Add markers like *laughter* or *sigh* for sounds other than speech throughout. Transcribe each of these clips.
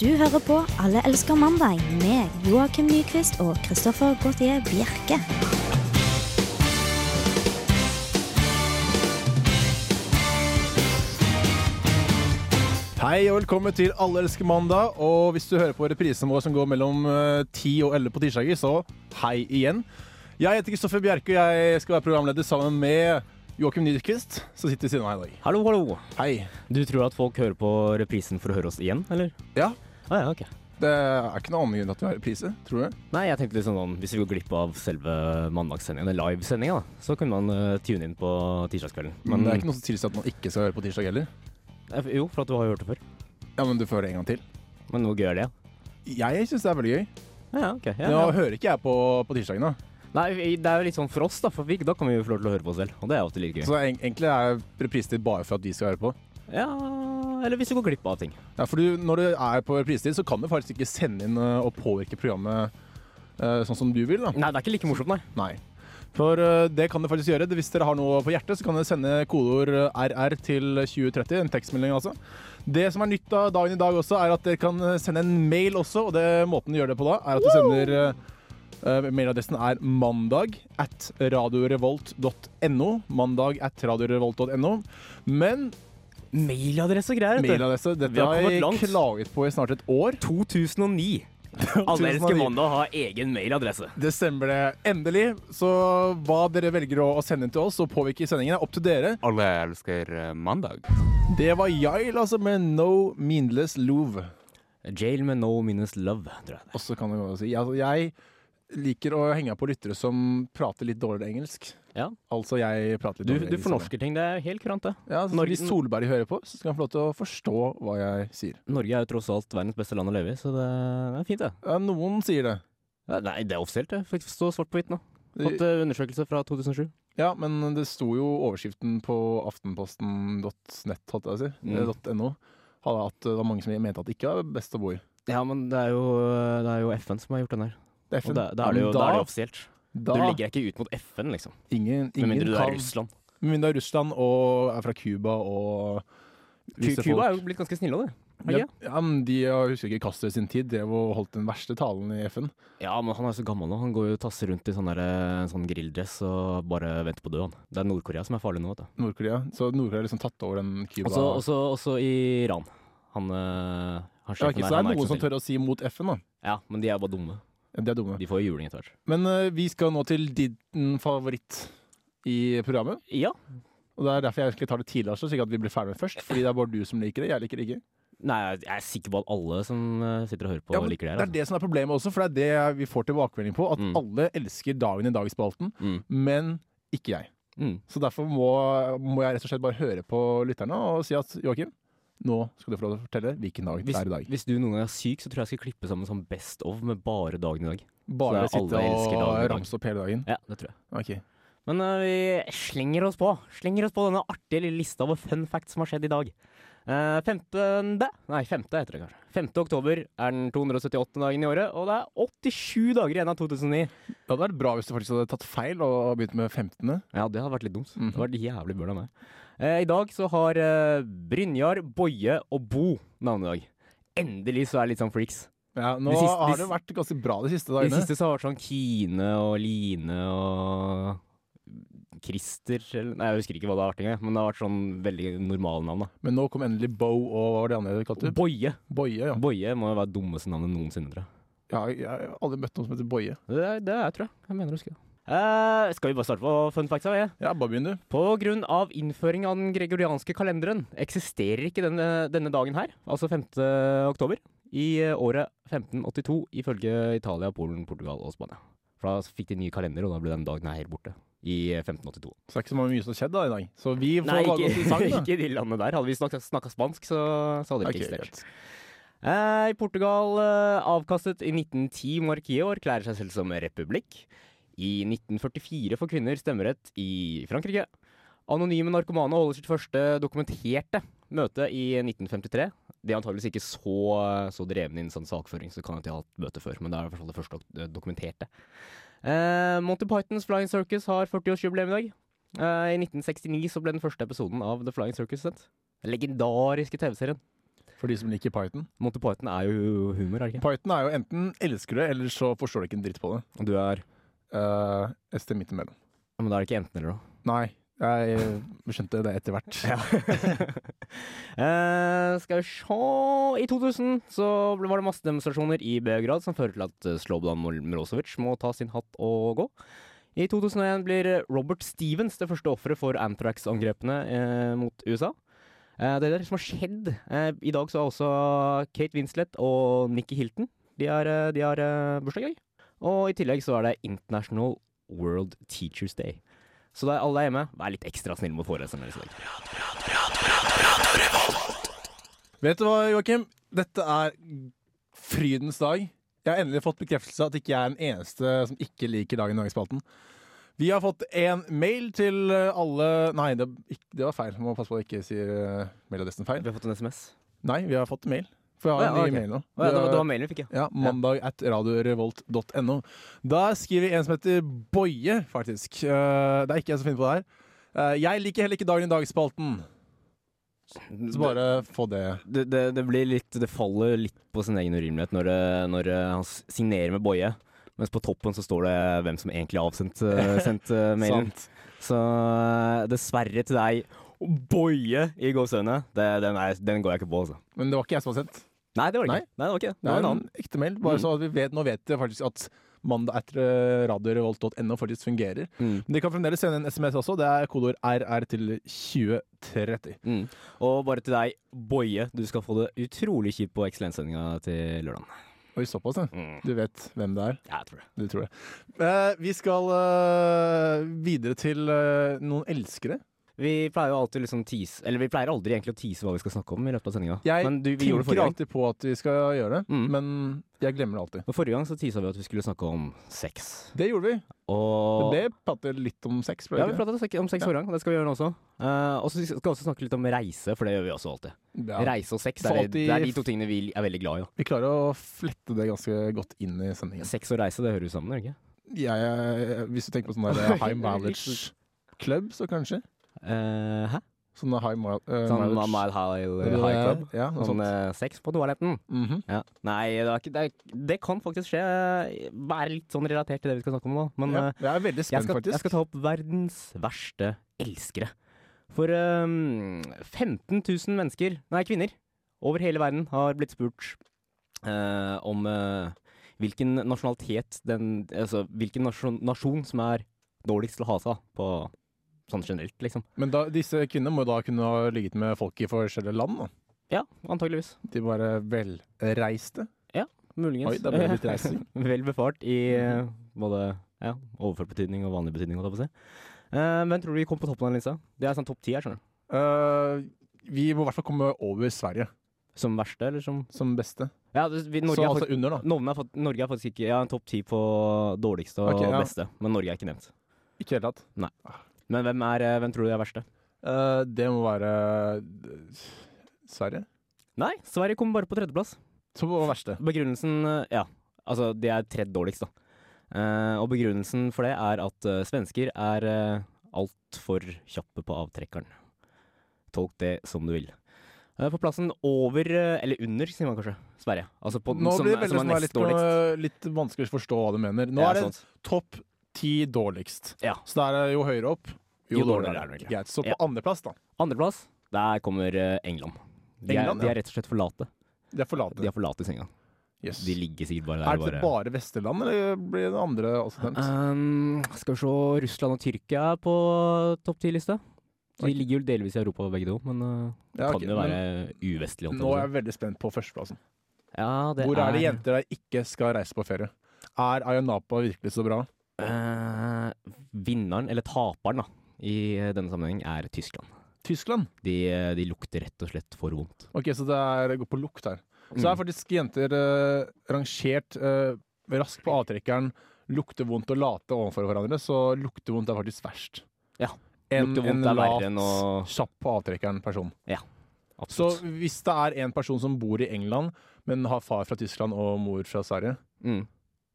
Du hører på Alle elsker mandag med Joakim Nyquist og Christoffer Gautier Bjerke. Hei og velkommen til Alle elsker mandag. Og hvis du hører på reprisen vår som går mellom eh, 10 og 11 på tirsdager, så hei igjen. Jeg heter Kristoffer Bjerke, og jeg skal være programleder sammen med Joakim Nyquist, som sitter ved siden av meg i dag. Hallo, hallo. Hei. Du tror at folk hører på reprisen for å høre oss igjen, eller? Ja, Ah, ja, ok. det er ikke noen annen grunn til at vi har reprise, tror du? Nei, jeg tenkte litt sånn om hvis vi går glipp av selve mandagssendingen, eller livesendinga, da, så kunne man eh, tune inn på tirsdagskvelden. Men det er ikke noe som tilsier at man ikke skal høre på tirsdag heller. Eh, Jo, for at du har jo hørt det før. Ja, men du får høre en gang til. Men hvor gøy er det? Jeg syns det er veldig gøy. Ja, ja, ok. Ja, Nå ja. hører ikke jeg på, på tirsdagene, Nei, vi- det er jo litt sånn for oss, da, for vi, da kan vi jo få lov til å høre på oss selv. Og det er jo alltid litt gøy. så eng- egentlig er reprisetid bare for at vi skal høre på. Ja, eller hvis du går glipp av ting. Ja, for du, når du er på reprisetid, så kan du faktisk ikke sende inn eh, og påvirke programmet eh, sånn som du vil. da. Nei, det er ikke like morsomt, nei. Nei. For eh, det kan du faktisk gjøre. Hvis dere har noe på hjertet, så kan dere sende kodeord eh, RR til 2030. En tekstmelding, altså. Det som er nytt av dagen i dag også, er at dere kan eh, sende en mail også. Og det, måten du gjør det på da, er at du sender eh, eh, Mailadressen er mandag at radiorevolt.no. Mandag at radiorevolt.no. Men Mailadresse og greier. vet du. mailadresse Dette Vi har har kommet jeg langt. klaget på i snart et år. *laughs* 2009. Alle elsker 2009. mandag har egen mailadresse. Det stemmer det. Endelig. Så hva dere velger å å sende til oss og påvirke sendingen, er opp til dere. Alle elsker eh, mandag. Det var Yael, altså, med No Meanless Love. Jail med no minus love, tror jeg. Og så kan du jo si altså, Jeg liker å henge på lyttere som prater litt dårligere engelsk. Ja. Altså, jeg prater litt Du, dårligere du fornorsker ting, det er helt kurant, det. Ja, så Norge- Hvis Solberg hører på, så skal han få lov til å forstå hva jeg sier. Norge er jo tross alt verdens beste land å leve i, så det er fint, det. Ja, noen sier det. Ja, Nei, det er offisielt, det. Fikk stå svart på hvitt nå. Fått eh, undersøkelse fra 2007. Ja, men det sto jo overskriften på aftenposten.nett, holdt jeg på å si, Mm. eller .no, hadde at det var mange som mente at det ikke var best å bo i. Ja, men det er jo, det er jo FN som har gjort den her. Det Og da, da, er det jo, da, er det jo offisielt. Da, Du legger deg ikke ut mot FN, liksom. ingen, Med ingen mindre du kan- er i Russland. Med mindre det er Russland og er fra Cuba og visse folk. Cuba er jo blitt ganske snille av det. er det ja, ja, men De jeg husker ikke Castro i sin tid drev og holdt den verste talen i FN. Ja, men han er jo så gammel nå. Han går jo og tasser rundt i sånn, der, eh, sånn grilldress og bare venter på å dø, han. Det er Nord-Korea som er farlig nå, vet du. Nord-Korea. Så Nord-Korea har liksom tatt over den Cuba. Også, også, også i Iran. Han, eh, han ja, sjefen ikke, så der, det han er noen ikke som så snill. tør å si mot FN, da. Ja, men de er bare dumme. De er dumme. De får jo juling etter hvert. Men eh, vi skal nå til din favoritt i programmet. Ja. Og Det er derfor jeg egentlig tar det tidligere, så slik at vi blir ferdig med det først. Fordi det er bare du som liker det. Jeg liker det ikke. Nei, jeg er sikker på at alle som eh, sitter og hører på, Ja, men liker det Det her. er Altså. det som er problemet også, for det er det vi får tilbakemelding på. At Mm. alle elsker dagen i dag-spalten, Mm. men ikke jeg. Mm. Så derfor må, må jeg rett og slett bare høre på lytterne og si at Joakim, nå skal du få lov til å fortelle hvilken dag det Hvis, er i dag. hvis du noen gang er syk, så tror jeg jeg skal klippe sammen sånn Best of med bare dagen i dag. Bare så det er sitte alle elsker og dagen i dag. ramse opp hele dagen. Ja, det tror jeg. Ok. Men eh, vi slenger oss på Slenger oss på denne artige lille lista over fun facts som har skjedd i dag. Eh, femtende Nei, femte heter det kanskje. 5. oktober er den 278. dagen i året, og det er 87 dager igjen av 2009. Det hadde vært bra hvis du faktisk hadde tatt feil og begynt med 15. Ja, det hadde vært litt dumt. Mhm. Det hadde vært jævlig bøl av meg. Eh, I dag så har eh, Brynjar, Boje og Bo navnedag. Endelig så er det litt sånn freaks. Ja, nå De siste- har de- det vært ganske bra de siste De dagene. siste så har det vært sånn Kine og Line og Christer eller Nei, jeg husker ikke hva det har vært engang, men det har vært sånn veldig normale navn, da. Men nå kom endelig Bo og hva var det andre du kalte? Boje. Boje, ja. Boje må jo være dummeste navnet noensinne, tror jeg. ja. Jeg har aldri møtt noen som heter Boje. Det er, det er jeg, tror jeg. Jeg mener å huske det. Eh, skal vi bare starte på fun facts? Ja? Ja, bare begynn du. På grunn av innføring av den gregorianske kalenderen eksisterer ikke denne, denne dagen her, altså 5. oktober, i eh, året 1582 ifølge Italia, Polen, Portugal og Spania. For da fikk de nye kalender, og da ble den dagen her helt borte. I eh, 1582. Så det er ikke så mye som har skjedd da i dag. Så vi får Nei, bare gå til ikke, sang da. ikke de landene der. Hadde vi snakka spansk, så, så hadde det Ok, *laughs* ikke eksistert. greit. Eh, I Portugal, eh, avkastet i 1910 monarkiet og erklærer seg selv som republikk. I 1944 får kvinner stemmerett i Frankrike. Anonyme narkomane holder sitt første dokumenterte møte i 1953. De er antageligvis ikke så, så drevne innen sånn sakføring, så kan jo ikke ha hatt møte før, men det er i hvert fall det første dok- dokumenterte. Eh, Monty Pythons Flying Circus har 40-årsjubileum i dag. Eh, I 1969 så ble den første episoden av The Flying Circus sendt. Den legendariske TV-serien. For de som liker Python. Monty Python er jo humor, er det ikke? Python er jo enten elsker du det, eller så forstår du ikke en dritt på det. Og du er Uh, et sted midt imellom. Ja, Men da er det ikke enten eller noe. Nei, jeg eh, skjønte det etter hvert. *laughs* Eh, skal vi se I 2000 så ble- var det massedemonstrasjoner i Beograd som fører til at eh, Slobodan Mil- Milosevic må ta sin hatt og gå. I 2001 blir eh, Robert Stevens det første offeret for Anthrax-angrepene eh, mot USA. Eh, det er det som har skjedd. Eh, I dag så har også Kate Winslet og Nikki Hilton De har, eh, de har eh, bursdag i dag. Og i tillegg så er det International World Teachers Day. Så da er alle hjemme, vær litt ekstra snill mot foreleseren deres i dag. Vet du hva, Joakim? Dette er frydens dag. Jeg har endelig fått bekreftelse at ikke jeg er den eneste som ikke liker Dagen i Norge-spalten. Vi har fått en mail til eh, alle Nei, det, ikk- det var feil. Må passe på at jeg ikke sier eh, mailadressen feil. Vi har fått en SMS. Nei, vi har fått mail. For jeg har en Å ja, ny ok. mail nå. Å ja, det, var, det Du var har- mailen vi fikk, ja. ja, mandag at radiorevolt.no. Der skriver en som heter Boje, faktisk. Eh, Det er ikke jeg som finner på det her. Eh, Jeg liker heller ikke Dagen i dag-spalten. Så bare få det Det, det, det blir litt Det faller litt på sin egen urimelighet når, det- når eh, han s- signerer med Boje, mens på toppen så står det hvem som egentlig har avsendt *laughs* eh, sendt, eh, mailen. sant. Så eh, dessverre til deg, Boje i gåseøynene, det- den, er- den går jeg ikke på, altså. Men det var ikke jeg som var sendt. Nei, det var det Nei. Mm. ikke. Nei, det var ikke det. Det Det er var en en annen. ekte mail. Bare så at vi vet, nå vet vi faktisk at mandag etter eh, radiorevolt.no faktisk fungerer. Mm. Men de kan fremdeles sende en SMS også. Det er kodeord RR til 2030. Mm. Og bare til deg, Boje, du skal få det utrolig kjipt på Excellenssendinga til lørdag. Oi, såpass, ja. Mm. Du vet hvem det er. Ja, jeg tror det. Du tror det. Eh, vi skal eh, videre til eh, noen elskere. Vi pleier jo alltid liksom tease Eller vi pleier aldri egentlig å tease hva vi skal snakke om i løpet av sendinga. Jeg Men du, vi gjorde Tenker det forrige gang. alltid på at vi skal gjøre det, Mm. men jeg glemmer det alltid. Og forrige gang så teasa vi at vi skulle snakke om sex. Det gjorde vi. Og Det prater litt om sex. ble Ja, det vi ikke prata om sex forrige gang, og det skal vi gjøre nå også. Eh, og så skal vi også snakke litt om reise, for det gjør vi også alltid. det? ja. Reise og sex er, For det, alltid- det er de to tingene vi er veldig glad i. Da. Vi klarer å flette det ganske godt inn i sendingen. Sex og reise, det hører jo sammen, gjør det ikke? Jeg, jeg- hvis du tenker på sånn der high mileage club, så kanskje? Eh, hæ? Sånne high mile, eh, Sånn mileage Mile High, Det er- high Club? Ja, noe Sånn sånt. eh, sex på toaletten? Mhm. Ja. Nei, det, er ikke, det, er, det kan faktisk skje. Være litt sånn relatert til det vi skal snakke om nå. Men ja, eh, jeg er veldig Jeg spent, skal, faktisk. jeg skal ta opp verdens verste elskere. For um, 15 000 mennesker, nei kvinner, over hele verden har blitt spurt eh, om eh, hvilken nasjonalitet den Altså hvilken nasjon, nasjon som er dårligst til å ha seg av på sånn generelt, liksom. Men da, disse kvinnene må da kunne ha ligget med folk i forskjellige land. Da. Ja, antageligvis. De bare velreiste. Muligens. Oi, da ble det litt reising. *laughs* Mhm. Vel befart i eh, både ja, overført betydning og vanlig betydning, holdt jeg på å si. Eh, hvem tror du kom på toppen av den lista? Det er sånn topp ti her, skjønner du. Eh, vi må i hvert fall komme over Sverige Som verste, eller som som beste. Ja, det- vi, så Norge er altså under, da. Norge er, fakt- Norge er faktisk ikke ja, en topp ti på dårligste og Ok, ja. beste, men Norge er ikke nevnt. Ikke i det hele tatt. Men hvem, er, eh, hvem tror du er verste? Eh, det må være eh, Sverige. Nei, Sverige kommer bare på tredjeplass. Som var verste. Begrunnelsen eh, Ja, altså de er tredje dårligst, da. Eh, og begrunnelsen for det er at eh, svensker er uh, altfor kjappe på avtrekkeren. Tolk det som du vil. Eh, på plassen over, eh, eller under, sier man kanskje, Sverige. Altså på, Nå som, blir det veldig som er sånn nest litt, dårligst. eh, litt vanskelig å forstå hva du mener. Nå Ja, sånn er det sånt. topp ti dårligst. Ja. Så det er jo høyere opp, jo, Jo dårligere dårligere er det er det. egentlig. Greit. Så på Ja. andreplass, da. Andreplass, der kommer eh, England. De er, England, de ja. er rett og slett for late. Det er for late. De er for late i senga. Yes. De ligger sikkert bare Er der. og det bare Vesterland, eller blir det andre også nevnt? Um, skal vi se Russland og Tyrkia er på topp ti-lista. De ligger jo delvis i Europa begge to, men uh, Ja, ok, kan jo men være uvestlig. holdt jeg Nå på å er si. jeg veldig spent på førsteplassen. ja, det Hvor er det jenter der ikke skal reise på ferie? Er Ayanapa virkelig så bra? Uh, vinneren, eller taperen, da, i uh, denne sammenheng er Tyskland. Tyskland? De, uh, de lukter rett og slett for vondt. Ok, så det er, går på lukt her. Så Mm. er faktisk jenter eh, rangert eh, raskt på avtrekkeren, lukter vondt og late overfor hverandre, så lukter vondt er faktisk verst. Ja. En, Lukter vondt en er verre lat, enn å- kjapp på avtrekkeren-person. Så Absolutt. hvis det er en person som bor i England, men har far fra Tyskland og mor fra Sverige, mm.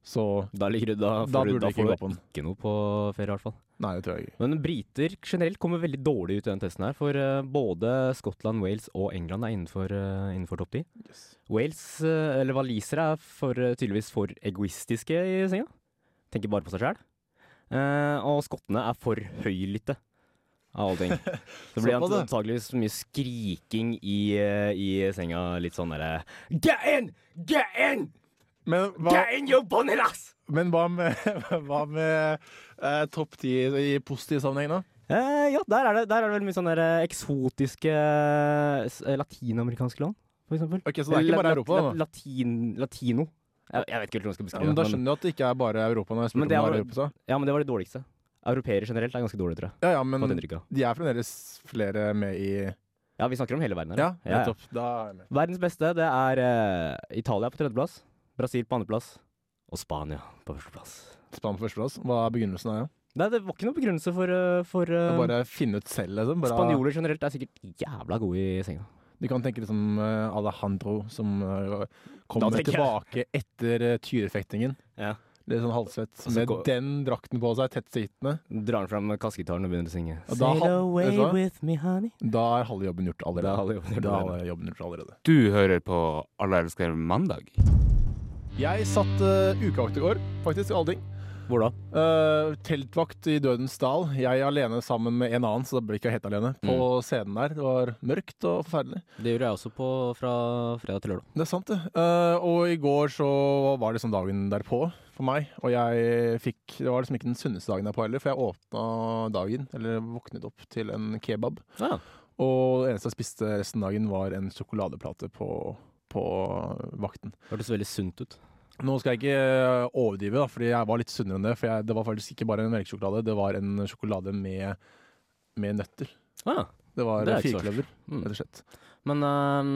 Så Da ligger du Da da får, du, burde da ikke får gå du på den. ikke noe på ferie, i hvert fall. Nei, det tror jeg ikke. Men briter generelt kommer veldig dårlig ut i den testen her, for eh, både Skottland, Wales og England er innenfor, eh, innenfor topp 10. Wales, eh, eller walisere, er for, eh, tydeligvis for egoistiske i senga. Tenker bare på seg sjæl. Eh, og skottene er for høylytte *laughs* av alle ting. Så det blir Såpass, ja. antakeligvis mye skriking i, eh, i senga. Litt sånn derre Get in! Get in! Men hva, Get in, you bonnet ass! men hva med, *laughs* hva med eh, topp ti i positiv sammenheng, da? Eh, ja, der er, det, der er det vel mye sånne der, eh, eksotiske eh, s- eh, latinamerikanske land, for eksempel. Ok, Så det er ikke bare Lat- Europa, lat- da? Latin, latino. Jeg, jeg vet ikke helt hvordan jeg skal Ja, beskrive men det. Da skjønner du at det ikke er bare Europa. når jeg Men spurte om det det er var jo- Europa, sa. Ja, men det var det dårligste. Europeere generelt er ganske dårlige, tror jeg. Ja, ja, Fått men inntrykk av. de er fremdeles flere med i Ja, vi snakker om hele verden her. Ja, da. nettopp. Da er jeg med. Verdens beste, det er eh, Italia på tredjeplass, Brasil på andreplass og Spania på førsteplass. Spann på førsteplass. Hva er begrunnelsen av det? Nei, det var ikke noen begrunnelse for, eh, for Det eh, er Bare finne ut selv, liksom? Bare, Spanjoler generelt er sikkert jævla gode i senga. Du kan tenke liksom eh, Alejandro som eh, Da kommer tenker jeg- tilbake etter eh, tyrefektingen. Ja. Litt sånn halvsvett. så Med går- den drakten på seg, tettsittende. Drar han fram kassegitaren og begynner å synge. Og da han- vet du hva? with me, honey. Da er halve jobben gjort Da er allerede. halve jobben gjort Da er allerede. halve jobben gjort allerede. Du hører på Alle elsker mandag. Jeg satt uh, ukevakt i går, faktisk. Alle ting. Hvor da? Eh, teltvakt i Dødens dal. Jeg alene sammen med en annen, så da ble jeg ikke helt alene. På scenen der. Det var mørkt og forferdelig. Det gjorde jeg også på, fra fredag til lørdag. Det er sant, det. Eh, og i går så var liksom dagen derpå for meg. Og jeg fikk Det var liksom ikke den sunneste dagen derpå heller, for jeg åpna dagen, eller våknet opp til en kebab. Ja. Og det eneste jeg spiste resten av dagen, var en sjokoladeplate på, på vakten. Hørtes veldig sunt ut. Nå skal jeg ikke eh, overdrive, da, fordi jeg var litt sunnere enn det. For jeg, det var faktisk ikke bare en melkesjokolade, det var en sjokolade med, med nøtter. Ah, Det var Det er ikke så firkløver, Mm. rett og slett. Men ehm,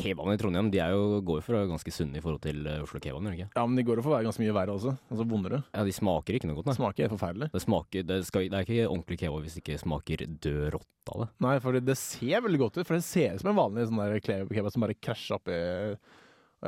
kebaben i Trondheim de er jo, går jo for å være ganske sunne i forhold til eh, Oslo kebab. gjør de ikke? Ja, men de går jo for å være ganske mye verre også. Altså vondere. Ja, De smaker ikke noe godt, nei. Smaker helt forferdelig. Det, smaker, det, skal, det er ikke ordentlig kebab hvis det ikke smaker død rått av det. Nei, for det ser veldig godt ut. For det ser ut som en vanlig sånn der kle- kebab som bare krasjer oppi eh,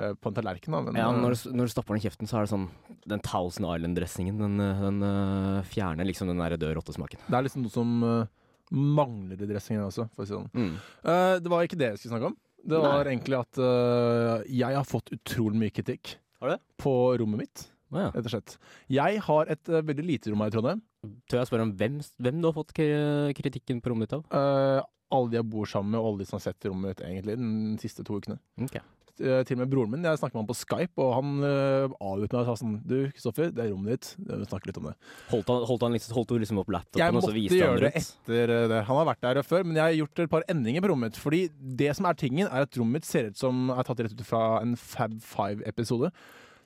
på en tallerken. Da. Men, Ja, eh, når, du- når du stapper den i kjeften, så er det sånn Den Thousand Island-dressingen den, eh, den eh, fjerner liksom den der død rottesmaken. Det er liksom noe som eh, mangler i dressingen også, for å si det sånn. Mm. Eh, det var ikke det jeg skulle snakke om. Det var egentlig at eh, jeg har fått utrolig mye kritikk Har du det? på rommet mitt. Ah, ja. rett og slett. Jeg har et eh, veldig lite rom her i Trondheim. Tør jeg spørre om hvem, hvem du har fått k- kritikken på rommet ditt av? Eh, alle de jeg bor sammen med, og alle de som har sett rommet mitt egentlig de siste to ukene. Ok. Eh, til og med broren min. Jeg snakket med han på Skype, og han uh, avbrøt meg og sa sånn Du, Kristoffer, det er rommet ditt. Vi snakker litt om det. Holdt, han, holdt, han liksom, holdt du liksom opp Jeg laptopen og så måtte viste han gjøre det det rundt? etter eh, det. Han har vært der før, men jeg har gjort et par endringer på rommet mitt. Fordi det som er tingen, er at rommet mitt ser ut som er tatt rett ut fra en Fab Five-episode.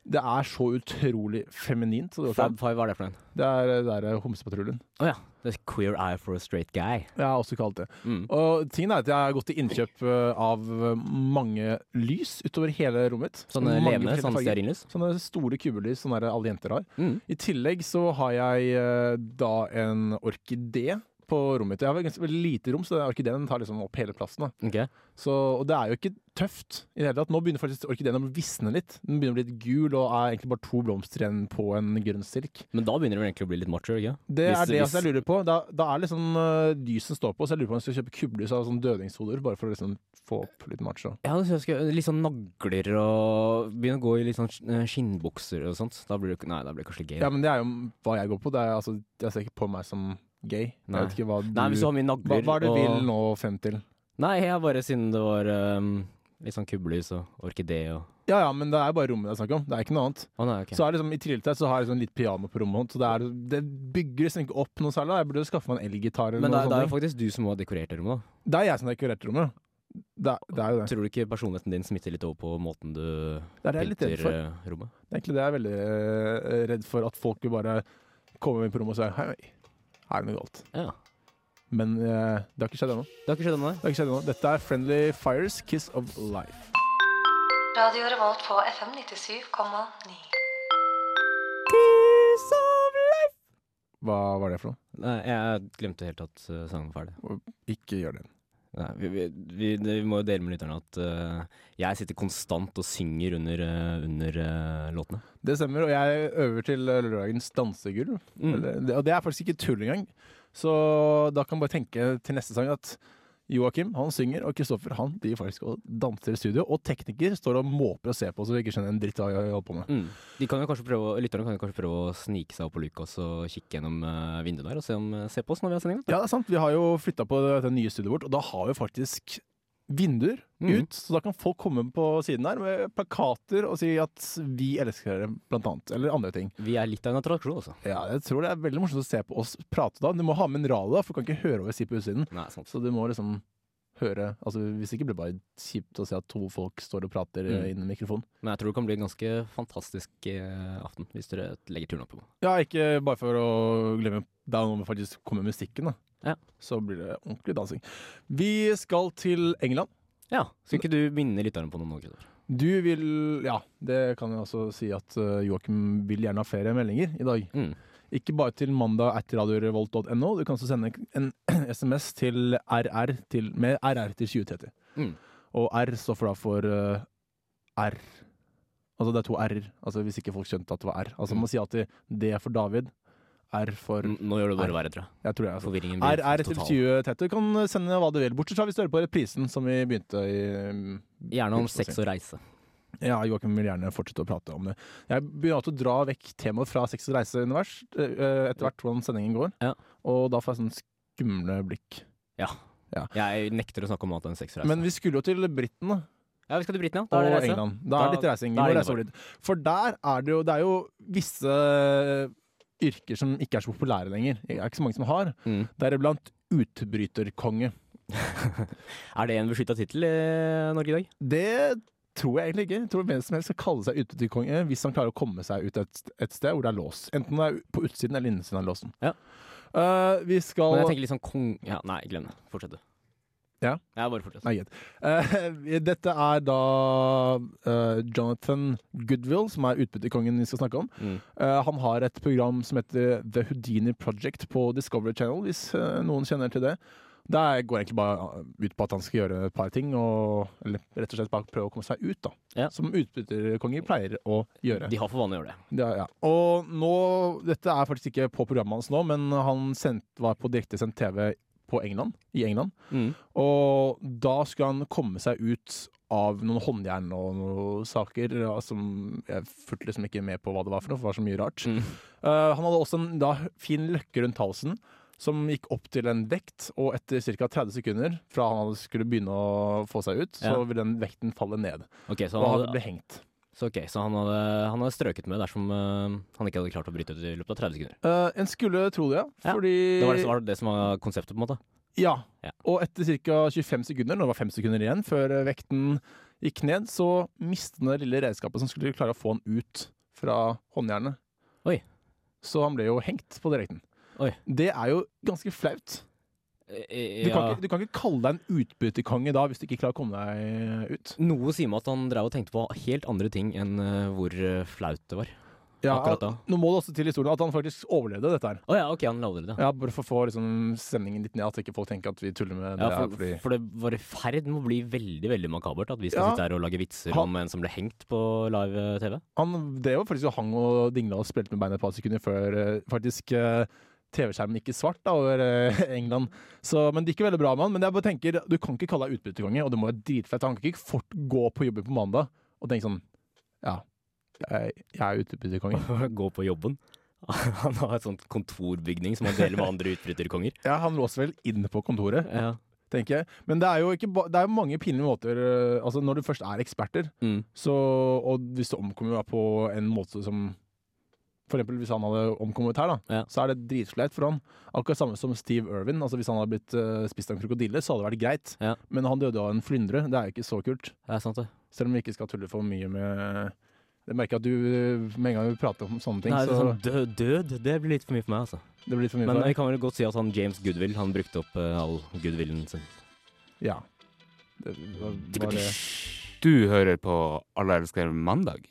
Det er så utrolig feminint. Så det, går ikke Fab an. Five, hva er det for en? det er eh, det er, eh, Homsepatruljen. Å ja. The Queer Eye for a Straight Guy. Jeg har også kalt det. Mm. Og tingen er at jeg har gått til innkjøp eh, av mange lys utover hele rommet mitt. Sånne Mange levende, forskjellige sånn farger. stearinlys. Sånne store kubelys som der alle jenter har. Mm. I tillegg så har jeg eh, da en orkidé på rommet mitt. Jeg har vel ganske veldig lite rom, så den orkideen tar liksom opp hele plassen. Da. Ok. Så, og det er jo ikke tøft i det hele tatt. Nå begynner faktisk orkideen å visne litt. Den begynner å bli litt gul og er egentlig bare to blomster igjen på en grønn stilk. Men da begynner det vel egentlig å bli litt macho, ikke Det Hvis- er det hvis- altså jeg lurer på. Da, da er liksom uh, lysen står på, så jeg lurer på om jeg skal kjøpe kubbelys av sånn dødningshoder, bare for å liksom få opp litt macho. Ja, det synes jeg skal, litt sånn nagler og begynne å gå i litt sånn sk- eh, skinnbukser og sånt. Da blir det, nei, da blir det kanskje gay. Ja, men det er jo hva jeg går på. Det er, altså, jeg ser ikke på meg som gay. Nei. Jeg vet ikke hva du, nei, hvis du har mye hva, nagler hva er det du og- vil nå frem til? Nei, jeg bare siden det var ehm, litt sånn kubbelys og orkidé og Ja ja, men det er bare rommet det er snakk om. Det er ikke noe annet. Å nei, ok. Så er det liksom, I trilletøy så har jeg liksom litt piano på rommet, så det, er, det bygger liksom ikke opp noe særlig. da. Jeg burde skaffe meg en elgitar eller men det, noe sånn- er- det er jo sånt. faktisk du som har dekorert det rommet, da. Det er jeg som har dekorert rommet. Det, er- det er jo det. Tror du ikke personligheten din smitter litt over på måten du Det er det jeg er litt redd pynter for. eh, rommet? Det er egentlig det jeg er veldig eh, redd for, at folk vil bare komme inn på rommet og si hei, hei, her er det noe galt. Ja. Men eh, det har ikke skjedd ennå. Det har ikke skjedd ennå? Det har ikke skjedd ennå. Dette er Friendly Fires Kiss of Life. Radio Revolt på FM 97,9. Hva var det for noe? Nei, jeg glemte helt at eh, sangen var ferdig. Ikke gjør det. Nei, vi, vi, vi, det- vi må jo dele med lytterne at eh, jeg sitter konstant og synger under, eh, under eh, låtene. Det stemmer, og jeg øver til eh, lørdagens dansegulv. Mm. Eller- det- Og det er faktisk ikke tull engang. Så da kan man bare tenke til neste sang at Joakim han synger, og Kristoffer han driver faktisk og danser i studio. Og tekniker står og måper og ser på så vi ikke skjønner en dritt hva jeg holder på med. Mm. De kan jo kanskje prøve, å- lytterne kan jo kanskje prøve å snike seg opp på luka og så kikke gjennom eh, vinduet der og se, om, se på oss når vi har sending. da. Ja, det er sant. Vi har jo flytta på det nye studioet vårt, og da har vi faktisk vinduer Mhm. ut. Så da kan folk komme på siden her med plakater og si at vi elsker dere, blant annet. Eller andre ting. Vi er litt av en attraksjon, altså. Ja, jeg tror det er veldig morsomt å se på oss prate da. Du må ha med en radio, da, for du kan ikke høre hva vi sier på utsiden. Nei, sant. Så du må liksom høre altså Hvis ikke blir det bare kjipt å se at to folk står og prater mm. Mm. innen mikrofonen. Men jeg tror det kan bli en ganske fantastisk eh, aften hvis dere legger turen opp. Ja, ikke bare for å glemme Det er noe med faktisk kommer musikken, da. Ja. Så blir det ordentlig dansing. Vi skal til England. Ja, Skal ikke du minne lytterne på noe nå, Kristoffer? Du vil Ja, det kan jeg også si at eh, Joakim vil gjerne ha flere meldinger i dag. Mm. Ikke bare til mandag at radiorevolt.no. Du kan også sende en *clears throat* SMS til RR til, med RR til 2030. Mm. Og R står for da for eh, R. Altså det er to R-er. Altså hvis ikke folk skjønte at det var R. Altså man sier alltid D for David, R for N- Nå gjør det bare verre, tror jeg. Jeg tror jeg altså. Forvirringen blir RR til total. 2030. Du kan sende hva du vil. Bortsett fra hvis du hører på reprisen som vi begynte i mm, Gjerne om sex og reise. Ja, Joakim vil gjerne fortsette å prate om det. Jeg begynner alltid å dra vekk temaet fra sex og reise-univers eh, etter hvert hvordan sendingen går. Ja. Og da får jeg sånn skumle blikk. Jeg nekter å snakke om annet enn sex og reise. Men vi skulle jo til Britten, da. ja, vi skal til Britene, da og er det reise. England. Da er det Da- litt reising. da Vi er må det reise over dit. For der er det jo Det er jo visse yrker som ikke er så populære lenger. Det er ikke så mange som har. Mm. Deriblant utbryterkonge. *laughs* Er det en beskytta tittel i Norge i dag? Det tror jeg egentlig ikke. Jeg tror hvem som helst skal kalle seg utbryterkonge hvis han klarer å komme seg ut et, et sted hvor det er lås. Enten det er på utsiden eller innsiden av låsen. Ja. Eh, vi skal Men jeg tenker litt sånn kong... Ja, nei, glem det. Fortsett du. Ja? Ja, bare fortsett. Nei, greit. Eh, *laughs* dette er da eh, Jonathan Goodwill, som er utbytterkongen vi skal snakke om. Mm. Eh, han har et program som heter The Houdini Project på Discovery Channel, hvis eh, noen kjenner til det. Det er- går egentlig bare eh, ut på at han skal gjøre et par ting, og, eller rett og slett bare prøve å komme seg ut, da. Ja. Som utbytterkonger pleier å gjøre. De har for vane å gjøre det. Ja, ja. Og nå, dette er faktisk ikke på programmet hans nå, men han sendt, var på direktesendt TV på England, i England. Mm. Og da skulle han komme seg ut av noen håndjern og noen saker ja, som Jeg fulgte liksom ikke med på hva det var for noe, for det var så mye rart. Mm. Eh, han hadde også en da, fin løkke rundt halsen som gikk opp til en vekt, og etter ca. 30 sekunder fra han hadde skulle begynne å få seg ut, så Ja. ville den vekten falle ned. Ok, så Og han han hadde, ble hengt. så, ok, så han, hadde, han hadde strøket med dersom eh, han ikke hadde klart å bryte ut i løpet av 30 sekunder. Eh, en skulle tro det, ja. Ja, Fordi Det var det, som var det som var konseptet, på en måte. Ja. Ja. Og etter ca. 25 sekunder, når det var 5 sekunder igjen før eh, vekten gikk ned, så mistet han det lille redskapet som skulle klare å få han ut fra håndjernet. Oi. Så han ble jo hengt på direkten. Oi. Det er jo ganske flaut. Eh, Du, kan ikke, du kan ikke kalle deg en utbytterkonge da hvis du ikke klarer å komme deg ut. Noe sier meg at han drev og tenkte på helt andre ting enn eh, hvor eh, flaut det var Ja, akkurat da. Nå må det også til historien at han faktisk overlevde dette her. Å ja, ok, han lavde det. Ja, Ja, Bare for å få liksom, stemningen litt ned, at ikke folk tenker at vi tuller med det. her for, fordi for det var i ferd med å bli veldig veldig makabert at vi skal Ja. sitte her og lage vitser Han- om en som ble hengt på eh, live-TV. Han drev jo faktisk og hang og dingla og spilte med beina et par sekunder før eh, faktisk eh, TV-skjermen gikk i svart da, over eh, England. Så, men det gikk jo veldig bra med han. Men jeg bare tenker, du kan ikke kalle deg utbytterkonge, og det må være dritfett. Han kan ikke fort gå på jobben på mandag og tenke sånn Ja, jeg, jeg er utbytterkonge. *laughs* Gå på jobben. *laughs* Han har et sånt kontorbygning som han deler med andre utbryterkonger. Ja, han låser vel inn på kontoret, *laughs* Ja. tenker jeg. Men det er jo ikke ba det er jo mange pinlige måter eh, Altså, når du først er eksperter, Mm. Så, og hvis det omkommer da på en måte som For eksempel hvis han hadde omkommet her, da, Ja. så er det dritflaut for han. Akkurat samme som Steve Irwin. Altså Hvis han hadde blitt eh, spist av en krokodille, så hadde det vært greit. Ja. Men han døde av en flyndre. Det er jo ikke så kult. Det er sant, det. Selv om vi ikke skal tulle for mye med Jeg merker at du eh, med en gang vi prater om sånne ting, Nei, det er så sånn død, død, det blir litt for mye for meg, altså. det blir litt for mye Men for vi deg. kan vel godt si at han James Goodwill han brukte opp eh, all goodwillen sin. Ja. Det var, var det. Du hører på Alle elsker mandag.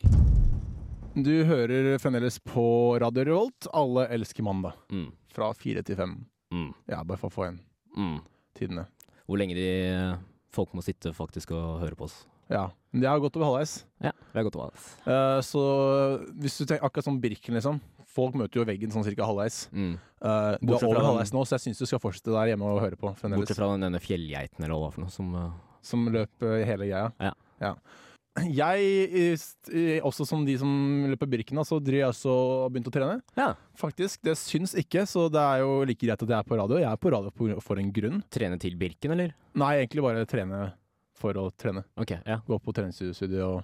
Du hører fremdeles på Radio Revolt. Alle elsker mandag. Mm. Fra fire til fem. Mm. Ja, bare for å få igjen Mm. tidene. hvor lenge de eh, folk må sitte faktisk og høre på oss. Ja. Men Det er godt over halvveis. Ja, det er godt å ha det. Eh, så hvis du tenker akkurat som Birken, liksom. Folk møter jo veggen sånn cirka halvveis. Mm. Eh, du Bortsett er over fra- halvveis nå, så jeg syns du skal fortsette der hjemme og høre på fremdeles. Bortsett fra den- denne fjellgeiten eller hva det var for noe som eh, Som løp eh, hele greia. Ja. Jeg, i st- i- også som de som løper Birken, da, så driver jeg også og begynte å trene. Ja. Faktisk. Det syns ikke, så det er jo like greit at jeg er på radio. Jeg er på radio på- for en grunn. Trene til Birken, eller? Nei, egentlig bare trene for å trene. Ok, ja. Gå på treningsstudio og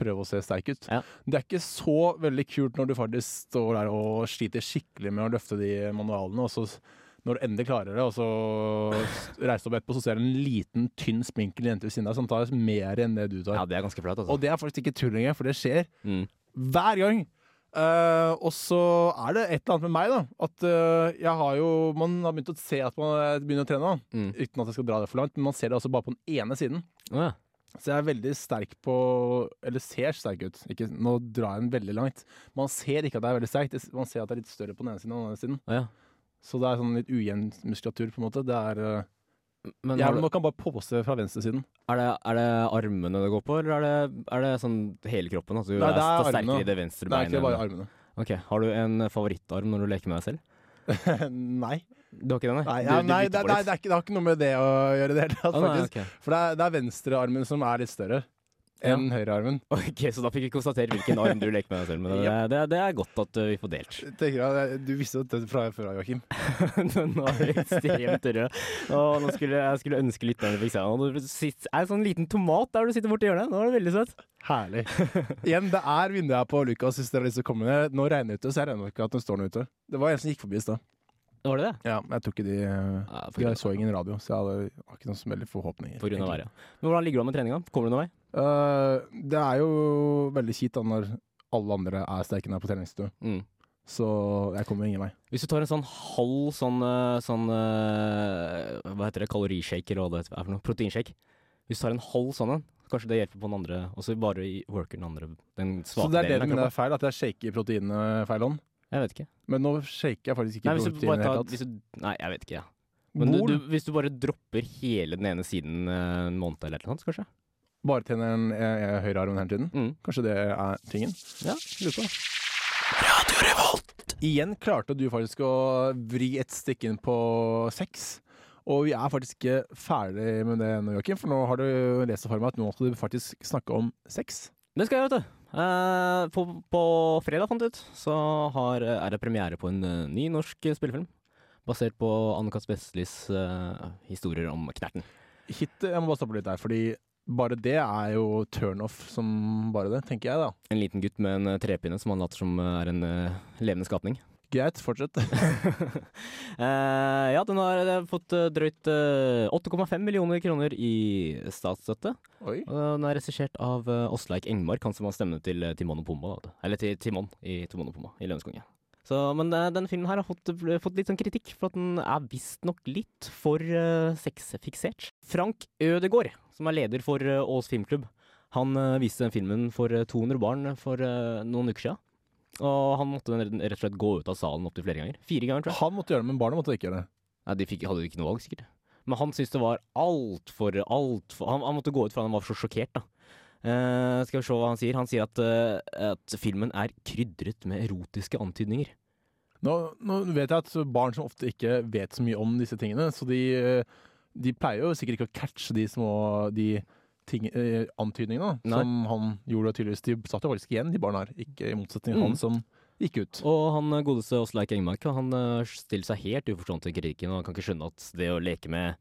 prøve å se sterk ut. Ja. Det er ikke så veldig kult når du faktisk står der og sliter skikkelig med å løfte de manualene, og så s- når du endelig klarer det, og så s- reiser du opp etterpå, så ser du en liten, tynn, spinkel jente ved siden av deg som tar mer enn det du tar. ja, det er ganske flaut, altså. Og det er faktisk ikke tull engang, for det skjer Mm. hver gang. Eh, og så er det et eller annet med meg, da. At eh, jeg har jo Man har begynt å se at man eh, begynner å trene, da. Mm. uten at jeg skal dra det for langt. Men man ser det også bare på den ene siden. Å, ja. Så jeg er veldig sterk på Eller ser sterk ut. Ikke, nå drar jeg den veldig langt. Man ser ikke at jeg er veldig sterk, det- man ser at jeg er litt større på den ene siden enn den andre siden. Å, ja. Så det er sånn litt ujevn muskulatur, på en måte. Det er eh, Men har Jeg du, man kan bare påse fra venstresiden. er, det, er det armene det går på, eller er det, er det sånn hele kroppen? At du Nei, er, det er st- sterkere armene. i det venstre Det er beinet? ikke bare armene. Ok, Har du en favorittarm når du leker med deg selv? *laughs* nei. Du har ikke den, Nei, Du- ja, du nei bytter det, på det, litt. det, er ikke, det har ikke noe med det å gjøre i det hele tatt, Å, nei, faktisk. For det er, det er venstrearmen som er litt større enn høyrearmen. ok. ok, Så da fikk vi konstatert hvilken arm du leker med deg selv *laughs* med. Det, det, det er godt at uh, vi får delt. Tenker jeg, eh, Du visste det fra før av, Joakim. *laughs* Den var ekstremt rød. Og nå skulle jeg skulle ønske lytterne fikk se den. Og det sitter- er en sånn liten tomat der du sitter borti hjørnet. Nå er det veldig søtt. Herlig. *laughs* Igjen, det er vinduet her på Lukas hvis dere har lyst til å komme ned. Nå regner det ute, så jeg regner ikke at den står nå ute. Det var en som gikk forbi i stad. Var det det? Ja, men jeg tror ikke de eh, Ja, for Jeg grunn- så ingen radio, så jeg hadde jeg har ikke noen så veldig forhåpninger. på grunn av egentlig. været. Men hvordan ligger du an med treninga? Kommer du noen vei? Eh, det er jo veldig kjipt da når alle andre er sterke nede på treningsstudio. Mm. Så jeg kommer ingen vei. Hvis du tar en sånn halv sånn, eh, sånn eh, Hva heter det? Kalorishaker eller hva det heter er for noe? Proteinshake. Hvis du tar en halv sånn en, kanskje det hjelper på den andre. Og så bare i- worker den andre den Så svake det er det du delen. mener av er kroppen. feil, at jeg shaker proteinene feil hånd? Jeg vet ikke. Men nå shaker jeg faktisk ikke Nei, hvis du proteinene i bare det hele tar tatt. hvis du, Nei, jeg vet ikke, ja. Men du, Bol? du, hvis du bare dropper hele den ene siden eh, en måned eller noe sånt, kanskje? Bare tjener den eh, høyre armen hele tiden. Mm. Kanskje det er tingen. Ja, lurer på det. Igjen klarte du faktisk å vri et stykke inn på sex. Og vi er faktisk ikke ferdig med det nå, Joakim, for nå har du lest det for meg at nå skal du faktisk snakke om sex. Det skal jeg, vet du. Eh, på, på fredag, fant jeg ut, så har, er det premiere på en eh, ny norsk spillefilm. Basert på Anne-Kat. Vestlis eh, historier om Knerten. Hit, eh, jeg må bare stoppe litt der, fordi bare det er jo turnoff som bare det, tenker jeg da. En liten gutt med en eh, trepinne som han later som eh, er en eh, levende skapning. Greit, *laughs* fortsett. Eh, ja, den har eh, fått eh, drøyt eh, 8,5 millioner kroner i statsstøtte. Oi. Og den er regissert av eh, Åsleik Engmark, han som har stemmen til eh, Timon og Pumba. da, vet du. Eller til Timon i Timon og Pumba i Lønneskongen. Så, men eh, denne filmen her har fått, ble- fått litt sånn kritikk for at den er visstnok litt for eh, sexfiksert. Frank Ødegaard, som er leder for eh, Ås Filmklubb, han eh, viste den filmen for eh, 200 barn for eh, noen uker siden. Og han måtte rett rett og slett gå ut av salen opptil flere ganger. Fire ganger, tror jeg. Han måtte gjøre det, men barnet måtte ikke gjøre det. Nei, de fikk, hadde jo ikke noe valg, sikkert. Men han syntes det var altfor alt for, han, han måtte gå ut fra han var så sjokkert, da. Eh, skal vi se hva han sier. Han sier at, eh, at filmen er krydret med erotiske antydninger. Nå, nå vet jeg at barn som ofte ikke vet så mye om disse tingene, så de, eh, de pleier jo sikkert ikke å catche de små de ting, eh, antydningene da, Nei. som han gjorde tydeligvis. De satt jo faktisk igjen, de barna her, ikke i motsetning til Mm. han som gikk ut. Og han eh, godeste Åsleik Engmark han eh, stiller seg helt uforstående til kritikken, og han kan ikke skjønne at det å leke med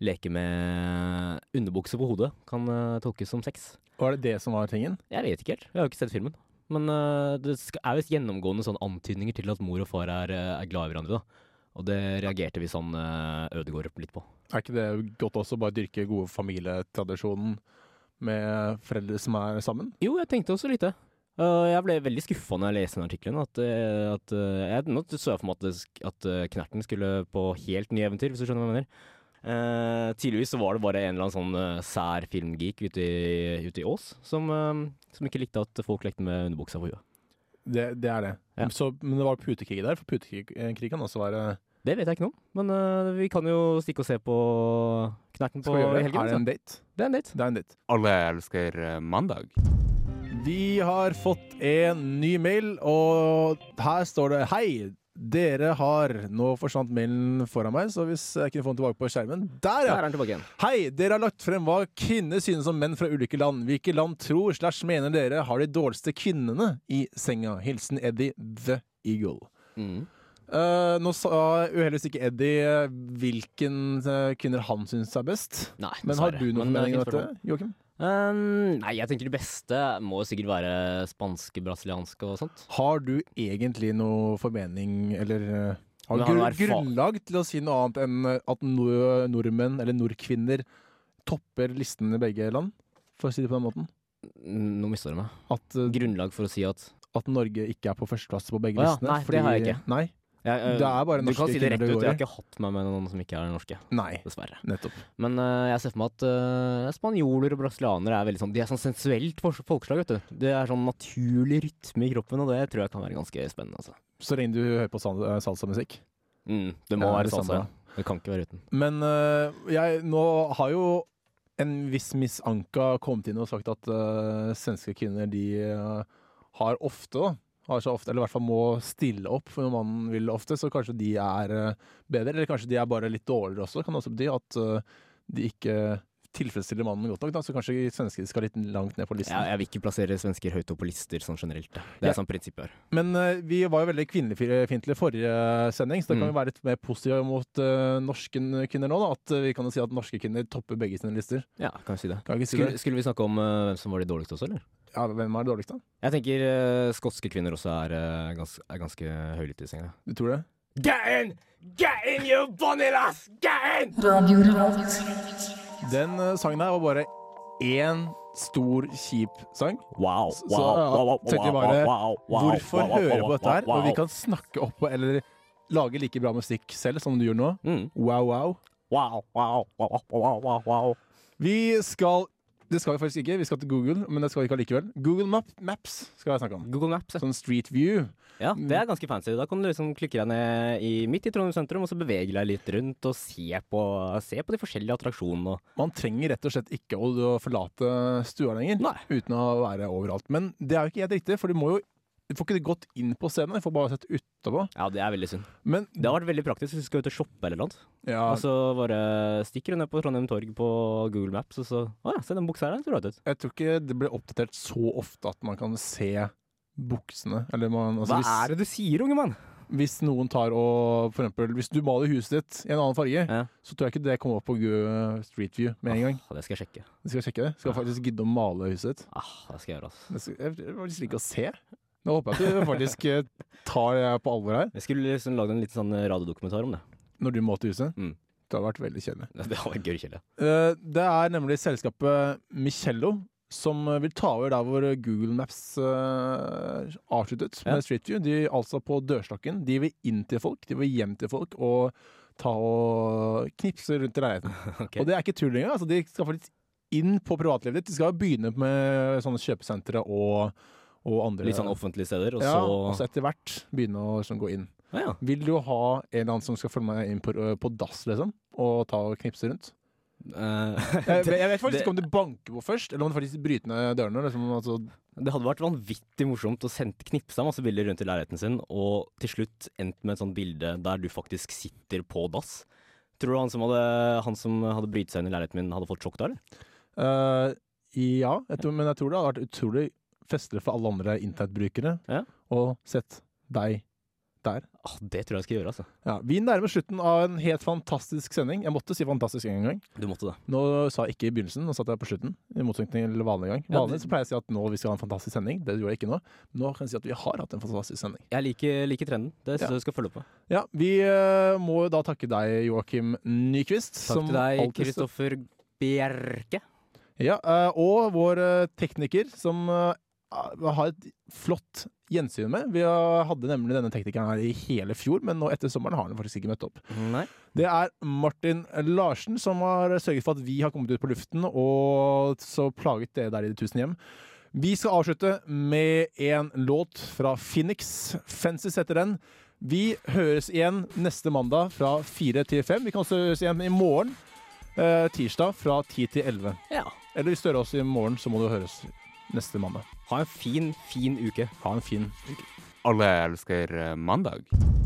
Leke med underbukse på hodet kan eh, tolkes som sex. Var det det som var tingen? Jeg vet ikke helt. Jeg har jo ikke sett filmen. Men eh, det skal, er visst gjennomgående sånne antydninger til at mor og far er, eh, er glad i hverandre. da. Og det reagerte vi sånn uh, Ødegård litt på. Er ikke det godt også å bare dyrke gode familietradisjonen med foreldre som er sammen? Jo, jeg tenkte også litt det. Eh, jeg ble veldig skuffa når jeg leste den artikkelen. At, eh, at, eh, jeg, nå så jeg for meg at, det, sk- at eh, Knerten skulle på helt nye eventyr, hvis du skjønner hva jeg mener. Uh, tidligvis så var det bare en eller annen sånn eh, sær filmgeek ute i, ute i Ås som, eh, som ikke likte at folk lekte med underbuksa på huet. Det, det er det. Ja. Så, men det var putekrig der, for putekrig eh, krig kan også være eh, Det vet jeg ikke noe om, men øh, vi kan jo stikke og se på knerten på Skal vi gjøre i det? Er helgen. det Altså. en date? Det er en date. Det er en date. Alle elsker eh, mandag. Vi har fått en ny mail, og her står det Hei, dere har Nå forsvant mailen foran meg, så hvis jeg kunne få den tilbake på skjermen Der, Der ja! er han tilbake igjen. Hei, dere har lagt frem hva kvinner synes om menn fra ulike land. Hvilke land tror slash mener dere har de dårligste kvinnene i senga? Hilsen Eddie The Eagle. Mm. Eh, nå sa uheldigvis ikke Eddie eh, hvilken eh, kvinner han syns er best. Nei, Men har du dessverre. noen Men, formening eh, om fint dette, spørsmål. Joakim? Um, nei, jeg tenker det beste må jo sikkert være spanske, brasilianske og sånt. Har du egentlig noe formening eller eh, har Men du har gru du erfa- grunnlag til å si noe annet enn eh, at nord nordmenn eller nordkvinner topper listen i begge land? For å si det på den måten. N- Nå mister du meg. At, eh, Grunnlag for å si at at Norge ikke er på førsteplass på begge Å ja, listene. nei, det har jeg ikke. Nei, Jeg, eh, det er bare Du norske kan si det rett kvinner ut. det Jeg har går i. ikke hatt meg med noen som ikke er norske. Nei, Dessverre. nettopp. Men eh, jeg ser for meg at eh, spanjoler og brasilianere er veldig sånn De er sånn sensuelt fors- folkeslag, vet du. Det er sånn naturlig rytme i kroppen, og det tror jeg kan være ganske spennende, altså. Så lenge du hører på sal- eh, salsamusikk. Mm, det må Ja, være det salsa. samme. ja. Det kan ikke være uten. Men eh, jeg nå har jo en viss Miss Anka kommet inn og sagt at eh, svenske kvinner de eh, har ofte da, har så ofte, eller i hvert fall må stille opp for når mannen vil ofte, så kanskje de er eh, bedre, eller kanskje de er bare litt dårligere også. Kan også bety at eh, de ikke tilfredsstiller mannen godt nok, da, så kanskje svensker skal litt langt ned på listen. Jeg, jeg vil ikke plassere svensker høyt opp på lister sånn generelt. da. Det Ja. er sånn prinsippet her. Men eh, vi var jo veldig kvinnefiendtlige i forrige sending, så da kan Mm. vi være litt mer positive mot eh, norske kvinner nå. Da, at eh, vi kan jo si at norske kvinner topper begge sine lister. Ja, kan vi si det. Kan vi ikke si Skulle, det? skulle vi snakke om eh, hvem som var de dårligste også, eller? Ja, hvem er dårligst, da? Jeg tenker eh, skotske kvinner også er, eh, gans er ganske høylytte i senga. Du tror det? Get in! Get in, you bunny lass! Get in! Radio Revolt. Den eh, sangen her var bare én stor, kjip sang. Wow, Så- så, wow, ja, wow, wow, tenker jeg wow, bare, wow, wow, Hvorfor wow, wow, høre wow, på dette her? wow, Og vi wow. kan snakke oppå eller lage like bra musikk selv som du gjør nå. Mm. Wow, wow. Wow, wow, wow, wow, wow, wow. Vi skal Det skal vi faktisk ikke. Vi skal til Google, men det skal vi ikke allikevel. Google Map Maps skal jeg snakke om. Google Maps, ja. Sånn Street View. ja. Det Mm. er ganske fancy. Da kan du liksom klikke deg ned i, midt i Trondheim sentrum, og så bevege deg litt rundt og se på, se på de forskjellige attraksjonene. og- Man trenger rett og slett ikke å å forlate stua lenger Nei. uten å være overalt. Men det er jo ikke helt riktig, for du må jo du får ikke gått inn på scenen, du får bare sett utenpå. Ja, det er veldig synd. Men Det har vært veldig praktisk hvis du skal ut og shoppe eller noe. ja, Og så bare stikker du ned på Trondheim Torg på Google Maps, og så Å ja, se den buksa her, den ser rød ut. jeg tror ikke det blir oppdatert så ofte at man kan se buksene. Eller man, altså hvis, det du sier, unge mann? hvis noen tar og for eksempel, Hvis du maler huset ditt i en annen farge, Ja. så tror jeg ikke det kommer opp på Gu- Street View med en gang. Ah, det skal jeg sjekke. Jeg skal sjekke det. Skal faktisk gidde å male huset ditt. Ah, det skal jeg gjøre, altså. Jeg skal- jeg faktisk liker å se. Nå håper jeg *laughs* at du faktisk eh, tar det på alvor her. Jeg skulle liksom lagd en liten sånn radiodokumentar om det. *laughs* når du må til huset. Mm. Det hadde vært veldig kjedelig. Det hadde vært gøy, Kjell. ja. Eh, Det er nemlig selskapet Michello som eh, vil ta over der hvor Google Maps eh, avsluttet Ja. med Street View. De er altså på dørstokken. De vil inn til folk, de vil hjem til folk og ta og knipse rundt i leiligheten. Ok. Og det er ikke tull engang. Altså, de skal faktisk inn på privatlivet ditt. De skal begynne med sånne kjøpesentre og, og andre Litt sånn offentlige steder, og ja, så og så etter hvert begynne å sånn, gå inn. Ja, ja. Vil du ha en eller annen som skal følge meg inn på, på dass, liksom? Og ta og knipse rundt? Eh, Jeg, det, *laughs* jeg vet faktisk ikke om du banker på først, eller om du faktisk bryter ned dørene. Liksom, altså, det hadde vært vanvittig morsomt å sende knipsa masse bilder rundt i leiligheten sin, og til slutt endt med et sånt bilde der du faktisk sitter på dass. Tror du han som hadde, han som hadde brytt seg inn i leiligheten min, hadde fått sjokk da, eller? eh, ja, jeg tror, men jeg tror det hadde vært utrolig festlig for alle andre internettbrukere Ja. og sett deg der. Ah, det tror jeg jeg skal gjøre, altså. Ja, vi nærmer slutten av en helt fantastisk sending. Jeg måtte si fantastisk en gang. Du måtte det. Nå sa jeg ikke i begynnelsen, nå satt jeg på slutten. I motsetning til vanlig gang. Ja, Vanlig det- så pleier jeg å si at nå vi skal ha en fantastisk sending. Det gjorde jeg ikke nå. Nå kan jeg si at vi har hatt en fantastisk sending. Jeg liker, liker trenden. Det Ja. synes jeg du skal følge opp med. Ja, vi eh, må jo da takke deg, Joakim Nyquist. Takk som til deg, alltid støtter- Kristoffer Bjerke. Ja, eh, og vår eh, tekniker, som eh, har et flott gjensyn med. Vi har- hadde nemlig denne teknikeren her i hele fjor, men nå etter sommeren har han faktisk ikke møtt opp. Nei. Det er Martin Larsen som har sørget for at vi har kommet ut på luften, og så plaget dere der i de tusen hjem. Vi skal avslutte med en låt fra Phoenix. Fences heter den. Vi høres igjen neste mandag fra fire til fem. Vi kan også høres igjen i morgen. eh, tirsdag fra 10 til 11. Ja. Eller hvis du hører oss i morgen, så må du høres neste mandag. Ha en fin, fin uke. Ha en fin Alle elsker eh, mandag.